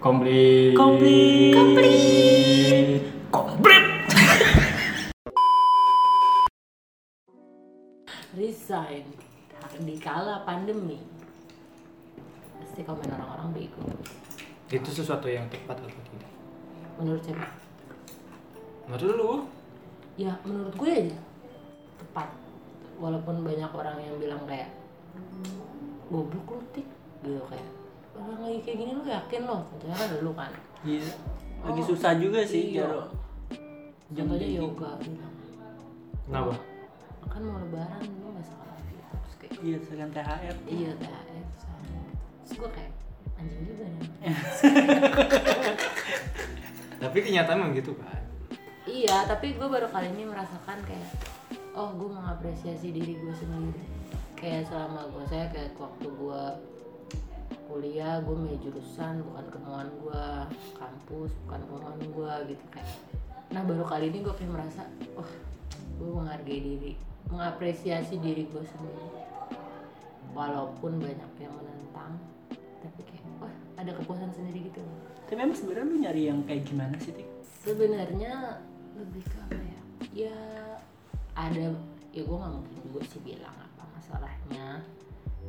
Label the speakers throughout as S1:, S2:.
S1: Komplit.
S2: Komplit.
S1: Komplit. Komplit.
S2: resign di kala pandemi pasti komen orang-orang bego
S1: Itu sesuatu yang tepat atau tidak?
S2: menurut siapa
S1: Menurut lu?
S2: ya menurut gue aja tepat walaupun banyak orang yang bilang kayak goblok lu tik gitu kayak orang lagi kayak gini lu yakin lo contohnya kan lu kan
S3: Iya. Lagi
S2: Oh,
S3: susah juga sih
S2: iya.
S3: Jaro. Jam
S2: contohnya
S3: kayak
S2: yoga bilang
S1: Kenapa?
S2: kan mau lebaran lu nggak sekolah gitu terus kayak
S3: Iya, sekarang THR.
S2: iya THR terus ada. terus gue kayak anjing juga nih
S1: Tapi kenyataan memang gitu kan.
S2: Iya, tapi gue baru kali ini merasakan kayak oh gue mengapresiasi diri gue sendiri. Kayak selama gue saya kayak waktu gue kuliah gue milih jurusan bukan kemauan gue kampus bukan kemauan gue gitu kayak nah baru kali ini gue kayak merasa wah gue menghargai diri mengapresiasi diri gue sendiri walaupun banyak yang menentang tapi kayak wah ada kepuasan sendiri gitu loh
S3: Tapi emang sebenarnya lu nyari yang kayak gimana sih, Tik?
S2: sebenarnya lebih ke apa ya ya ada ya gue nggak mungkin juga sih bilang apa masalahnya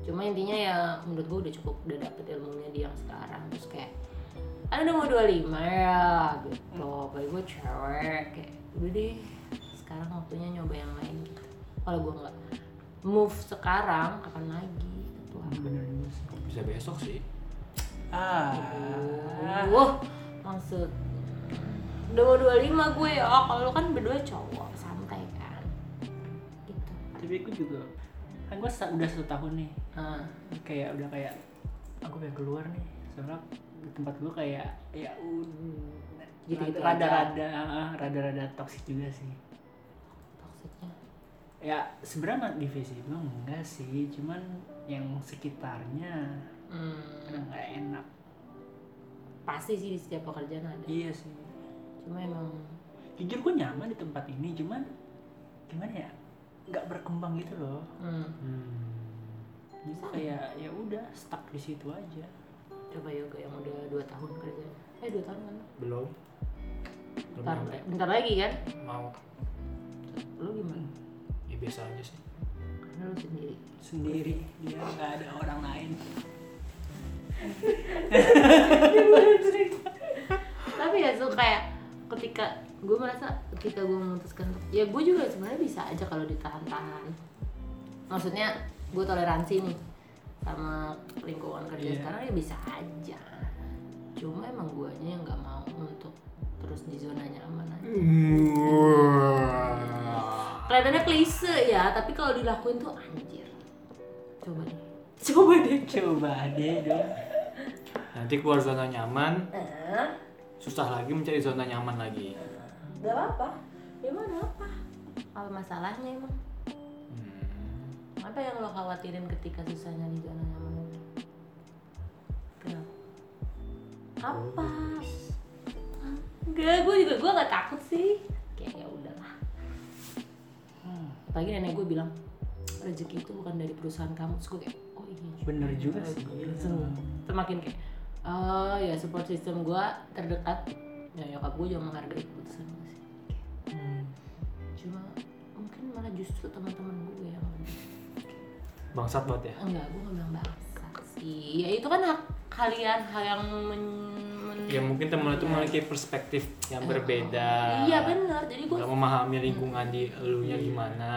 S2: cuma intinya ya menurut gue udah cukup udah dapet ilmunya di yang sekarang terus kayak ada udah mau 25 ya gitu apalagi gue cewek kayak udah deh sekarang waktunya nyoba yang lain gitu kalau gue nggak move sekarang kapan lagi gitu. ketua
S3: Bener juga sih.
S1: Bisa besok sih.
S3: Ah.
S2: Wah, maksud udah mau 25 gue ya, oh, kalau lu kan berdua cowok santai kan, gitu.
S3: Tapi aku juga kan gue udah satu tahun nih.
S2: Nah,
S3: Kayak udah kayak aku pengen keluar nih. Soalnya di tempat gue kayak ya udah
S2: Gitu-gitu
S3: rada-rada ah, rada-rada toksik juga sih.
S2: maksudnya
S3: Ya sebenarnya mah divisi gue enggak sih, cuman yang sekitarnya
S2: hmm,
S3: kadang nggak enak.
S2: pasti sih di setiap pekerjaan ada.
S3: Iya sih.
S2: Cuma emang
S3: jujur gue nyaman di tempat ini cuman gimana ya nggak berkembang gitu loh
S2: hmm,
S3: jadi kayak ya udah stuck di situ aja
S2: coba yoga yang udah 2 tahun kerja. Eh 2 tahun kan?
S1: Belum. Belum
S2: Bentar,
S1: nyampe.
S2: bentar lagi kan?
S1: Mau.
S2: Lu gimana?
S1: Ya biasa aja sih.
S2: Karena lu sendiri.
S3: sendiri dia nggak ada orang lain
S2: tapi ya tuh kayak ketika gue merasa ketika gue memutuskan untuk- ya gue juga sebenarnya bisa aja kalau ditahan-tahan maksudnya gue toleransi nih sama lingkungan kerja
S3: Iya.
S2: sekarang ya bisa aja cuma emang guanya yang nggak mau untuk terus di zona nyaman aja Hmm. kelihatannya klise ya tapi kalau dilakuin tuh anjir coba deh coba deh
S3: coba deh dong
S1: Nanti keluar zona nyaman.
S2: Eh,
S1: Susah lagi mencari zona nyaman lagi.
S2: gak apa-apa gimana apa apa masalahnya emang
S1: Hmm.
S2: Apa yang lo khawatirin ketika susahnya di zona nyaman? Kenapa? Apa? Enggak, gue juga gue gak takut sih. Kayak ya udahlah.
S3: Hmm,
S2: Pagi nenek gue bilang rezeki itu bukan dari perusahaan kamu. Terus gue kayak oh iya.
S3: bener juga sih
S2: Terus Semakin kayak oh ya support system gue terdekat. Ya nyokap gue juga menghargai keputusan gue sih.
S3: Hmm,
S2: Cuma mungkin malah justru teman-teman gue yang lebih
S1: Bangsat banget ya.
S2: enggak gue nggak bilang bangsa sih ya itu kan hak kalian hal yang men, men-
S1: Ya mungkin ya. teman itu memiliki perspektif yang berbeda.
S2: iya benar jadi gue
S1: Gak memahami lingkungan di elunya gimana.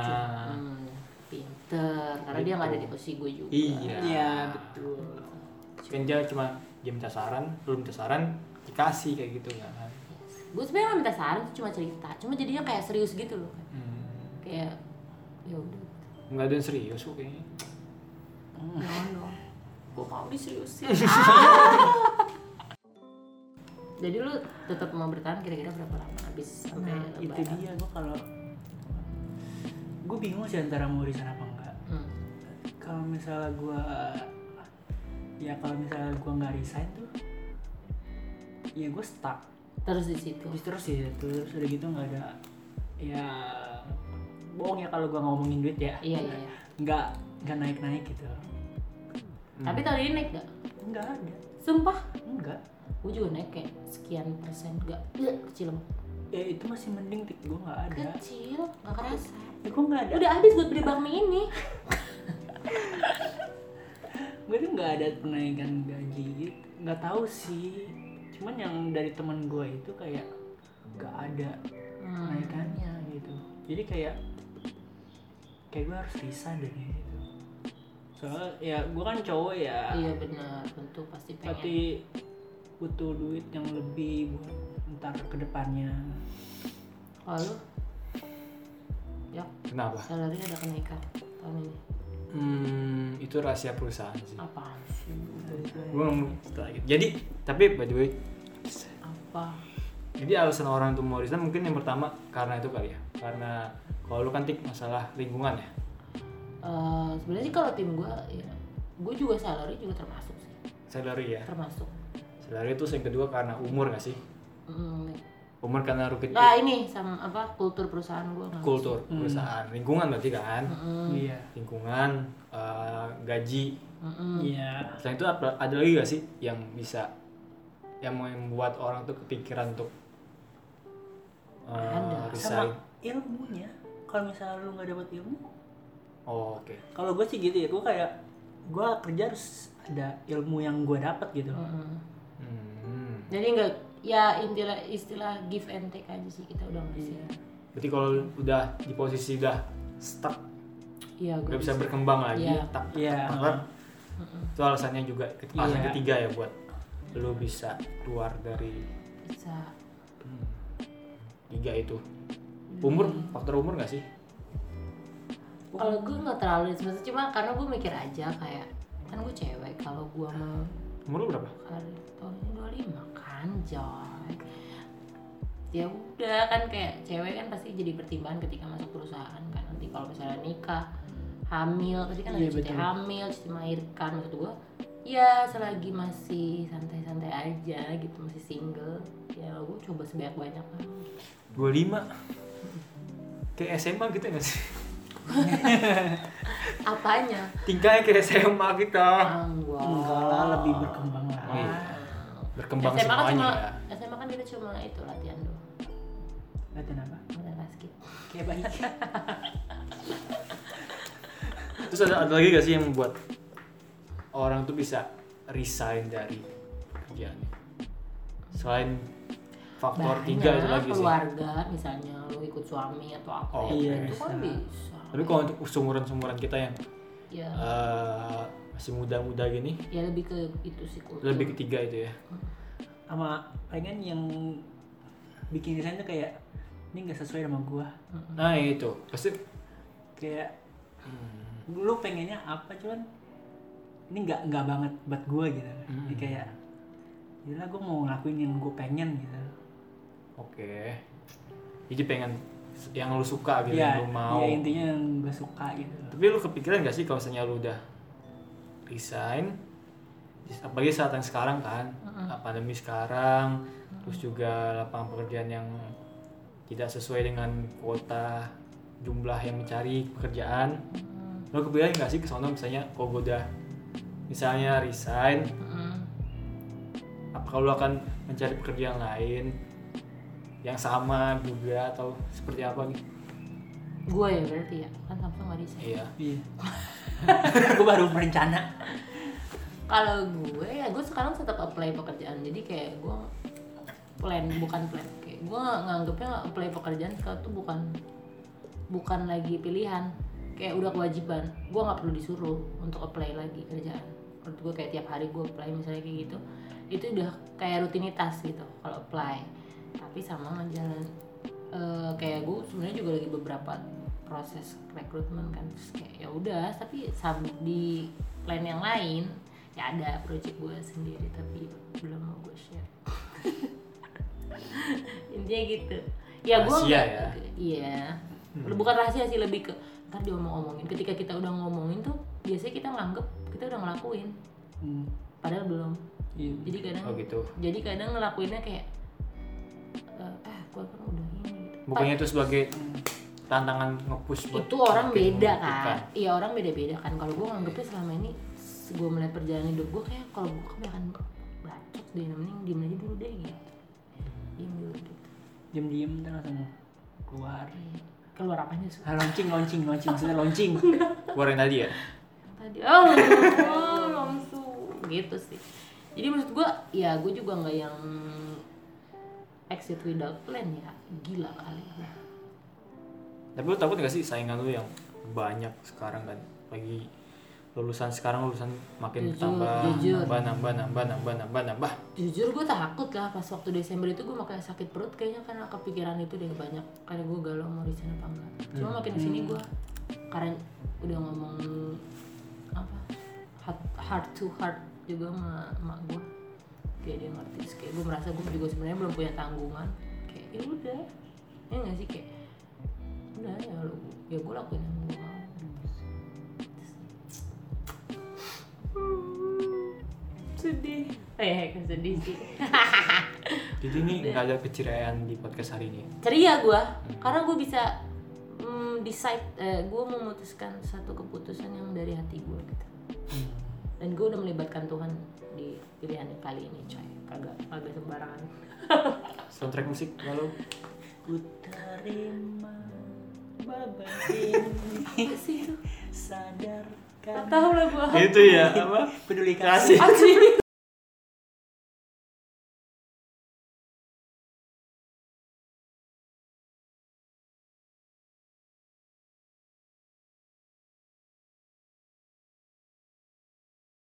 S2: hmm, pinter karena dia nggak ada di posisi gue juga
S1: Iya.
S3: iya betul
S1: Kenja cuma dia minta saran, lu minta saran, dikasih kayak gitu ya kan.
S2: gue sebenarnya nggak minta saran cuma cerita cuma jadinya kayak serius gitu loh
S1: Hmm.
S2: kayak ya udah
S1: Nggak ada yang serius kok kayaknya.
S2: jangan dong gue Hmm. mau diseriusin jadi lu tetap mau bertahan kira-kira berapa lama habis sampai
S3: nah itu
S2: lebaran?
S3: dia gue kalau gue bingung sih antara mau resign apa enggak
S2: Hmm.
S3: kalau misalnya gua ya kalau misalnya gua nggak resign tuh ya gua stuck
S2: terus di situ
S3: terus terus ya terus udah gitu nggak ada ya bohong ya kalau gua ngomongin duit ya
S2: iya iya, iya.
S3: nggak nggak naik naik gitu
S2: tapi tahun ini naik gak?
S3: nggak ada
S2: Sumpah
S3: nggak
S2: gue juga naik kayak sekian persen gak
S3: Iya.
S2: kecil banget.
S3: ya itu masih mending tik gue nggak ada
S2: kecil nggak kerasa
S3: ya, gue nggak ada
S2: Kan udah habis buat beli bakmi ini
S3: gue tuh nggak ada kenaikan gaji gitu nggak tahu sih cuman yang dari teman gue itu kayak nggak ada
S2: Hmm.
S3: kenaikannya gitu jadi kayak kayak gue harus resign deh gitu soalnya ya gue kan cowok ya
S2: iya benar tentu pasti pengen
S3: tapi butuh duit yang lebih buat ntar kedepannya
S2: kalau ya
S1: Kenapa?
S2: salary ada kenaikan tahun ini
S1: Hmm, itu rahasia perusahaan sih.
S2: apaan sih
S1: Gua ngomong setelah itu. Jadi, tapi by the way,
S2: apa
S1: jadi alasan orang tuh mau resign mungkin yang pertama karena itu kali ya. Karena kalau lu kan tik masalah lingkungan ya.
S2: Eh, sebenarnya sih kalau tim gue ya, gue juga salary juga termasuk sih
S1: Salary ya.
S2: termasuk
S1: Salary itu yang kedua karena umur gak sih?
S2: Mm,
S1: Umur karena rukit
S2: nah ini sama apa kultur perusahaan gue
S1: kultur perusahaan, lingkungan berarti kan.
S3: iya
S1: Lingkungan, eh, gaji.
S3: iya
S1: Selain itu apa- ada lagi gak sih yang bisa yang membuat orang tuh kepikiran untuk eh,
S2: Ada.
S1: resign?
S3: sama ilmunya kalau misalnya lu nggak dapat ilmu
S1: Oh, Oke.
S3: kalau gue sih gitu ya gue kayak gue kerja harus ada ilmu yang gue dapat gitu
S1: Hmm.
S2: jadi nggak ya istilah istilah give and take aja sih kita udah nggak sih
S1: Berarti kalau udah di posisi udah stuck,
S2: iya gue
S1: nggak bisa berkembang lagi,
S2: Iya.
S1: tak tak,
S3: Iya.
S1: tak, tak. Itu alasannya juga ke- alasan
S3: Iya.
S1: ketiga ya buat lu bisa keluar dari
S2: bisa
S1: hmm, tiga itu. Umur, faktor umur nggak sih?
S2: kalau gue nggak terlalu sebenarnya cuma karena gue mikir aja kayak kan gue cewek kalau gue mau
S1: Umur lu berapa?
S2: kali tahun ini 25 kan Joy ya udah kan kayak cewek kan pasti jadi pertimbangan ketika masuk perusahaan kan nanti kalau misalnya nikah hamil pasti kan
S3: Iya,
S2: ada cuti
S3: betul.
S2: hamil cuti melahirkan maksud gue ya selagi masih santai-santai aja gitu masih single ya gue coba sebanyak banyak lah
S1: 25 kayak SMA gitu nggak sih?
S2: apanya
S1: Tingkahnya kayak SMA kita
S2: anggur
S3: enggak lah lebih berkembang lah
S1: Oh, iya. berkembang
S2: SMA kan
S1: semuanya
S2: cuma
S1: ya.
S2: SMA kan kita cuma itu latihan doang
S3: latihan apa
S2: latihan basket
S3: kayak baik
S1: Terus ada, ada lagi gak sih yang membuat orang tuh bisa resign dari kerjaannya? Selain faktor
S2: Banyak,
S1: tiga itu lagi sih.
S2: keluarga misalnya lu ikut suami atau apa
S1: Oh,
S3: iya,
S2: itu kan
S3: bisa.
S2: bisa
S1: Tapi kalau untuk sumuran-sumuran kita yang
S2: ya
S1: eh, masih muda-muda gini,
S2: ya lebih ke itu sih kultur
S1: lebih ketiga itu ya.
S3: sama pengen yang bikin desain tuh kayak ini nggak sesuai sama gua
S1: Nah itu pasti hmm,
S3: kayak lu pengennya apa cuman ini nggak nggak banget buat gua gitu jadi kayak Yalah gue mau ngelakuin yang gue pengen gitu
S1: oke. Jadi pengen yang lu suka gitu, yang
S3: ya,
S1: lu mau.
S3: ya intinya yang gue suka gitu
S1: Tapi lu kepikiran gak sih kalau misalnya lu udah resign apalagi saat yang sekarang kan ah, pandemi sekarang terus juga lapangan pekerjaan yang tidak sesuai dengan kuota jumlah yang mencari pekerjaan lu kepikiran gak sih ke sono misalnya kalau gua udah misalnya resign
S2: Mm-mm.
S1: apakah lu akan mencari pekerjaan lain yang sama juga atau seperti apa gitu
S2: gue ya berarti ya kan Samsung gak bisa
S1: iya
S3: Iya. gue baru berencana.
S2: kalau gue ya gue sekarang tetap apply pekerjaan jadi kayak gue plan bukan plan kayak gue nganggepnya apply pekerjaan sekarang tuh bukan bukan lagi pilihan kayak udah kewajiban gue nggak perlu disuruh untuk apply lagi kerjaan menurut gue kayak tiap hari gue apply misalnya kayak gitu itu udah kayak rutinitas gitu kalau apply tapi sama ngejalan eh, kayak gue sebenarnya juga lagi beberapa proses rekrutmen kan terus kayak ya udah tapi sam- di plan yang lain ya ada project gue sendiri tapi belum mau gue share intinya gitu ya gue
S1: Rahasia
S2: nggak
S1: ya.
S2: iya
S1: Hmm.
S2: bukan rahasia sih lebih ke ntar diomong-omongin ketika kita udah ngomongin tuh biasanya kita nganggep kita udah ngelakuin
S3: Hmm,
S2: padahal belum
S3: iya.
S2: jadi kadang
S1: oh gitu
S2: jadi kadang ngelakuinnya kayak eh ah gue kan udah ini gitu.
S1: bukannya itu sebagai tantangan nge-push buat
S2: itu orang
S1: makin
S2: beda
S1: membuktikan.
S2: kan iya orang beda beda kan kalau gue nganggepnya selama ini gue melihat perjalanan hidup gue kayak kalau gue kebanyakan bacot deh mending diem aja dulu deh gitu diem dulu gitu
S3: Diam-diam ntar langsung keluar.
S2: keluar apanya sih
S3: Ah, launching, launching, launching. Maksudnya launching.
S1: Keluar yang tadi ya?
S2: tadi oh oh, langsung gitu sih jadi maksud gue ya gue juga nggak yang exit without plan ya gila kali ya
S1: Tapi lu takut gak sih saingan lu yang banyak sekarang kan? Lagi lulusan sekarang lulusan makin
S2: Jujur,
S1: tambah,
S2: jujur.
S1: nambah, nambah, nambah, nambah, nambah, nambah.
S2: jujur gue takut lah pas waktu Desember itu gue makanya sakit perut kayaknya karena kepikiran itu deh banyak karena gue galau mau resign apa enggak cuma makin kesini gue karena udah ngomong apa heart, heart to heart juga sama emak gue kayak dia ngerti Terus kayak gue merasa gue juga sebenarnya belum punya tanggungan kayak ya udah ya nggak sih kayak udah ya lu ya gue lakuin yang gue mau sedih eh sedih sih
S1: Jadi ini nggak ada keceriaan di podcast hari ini.
S2: ceria gue karena gue bisa mm, decide gue memutuskan satu keputusan yang dari hati gue gitu dan gue udah melibatkan Tuhan di pilihan kali ini coy kagak kagak sembarangan
S1: Soundtrack musik lalu
S3: Ku terima beban ini.
S2: apa sih itu
S3: Sadarkan.
S2: nggak tahu lah gue
S1: itu ya apa?
S3: Peduli kasih.
S2: Anjing.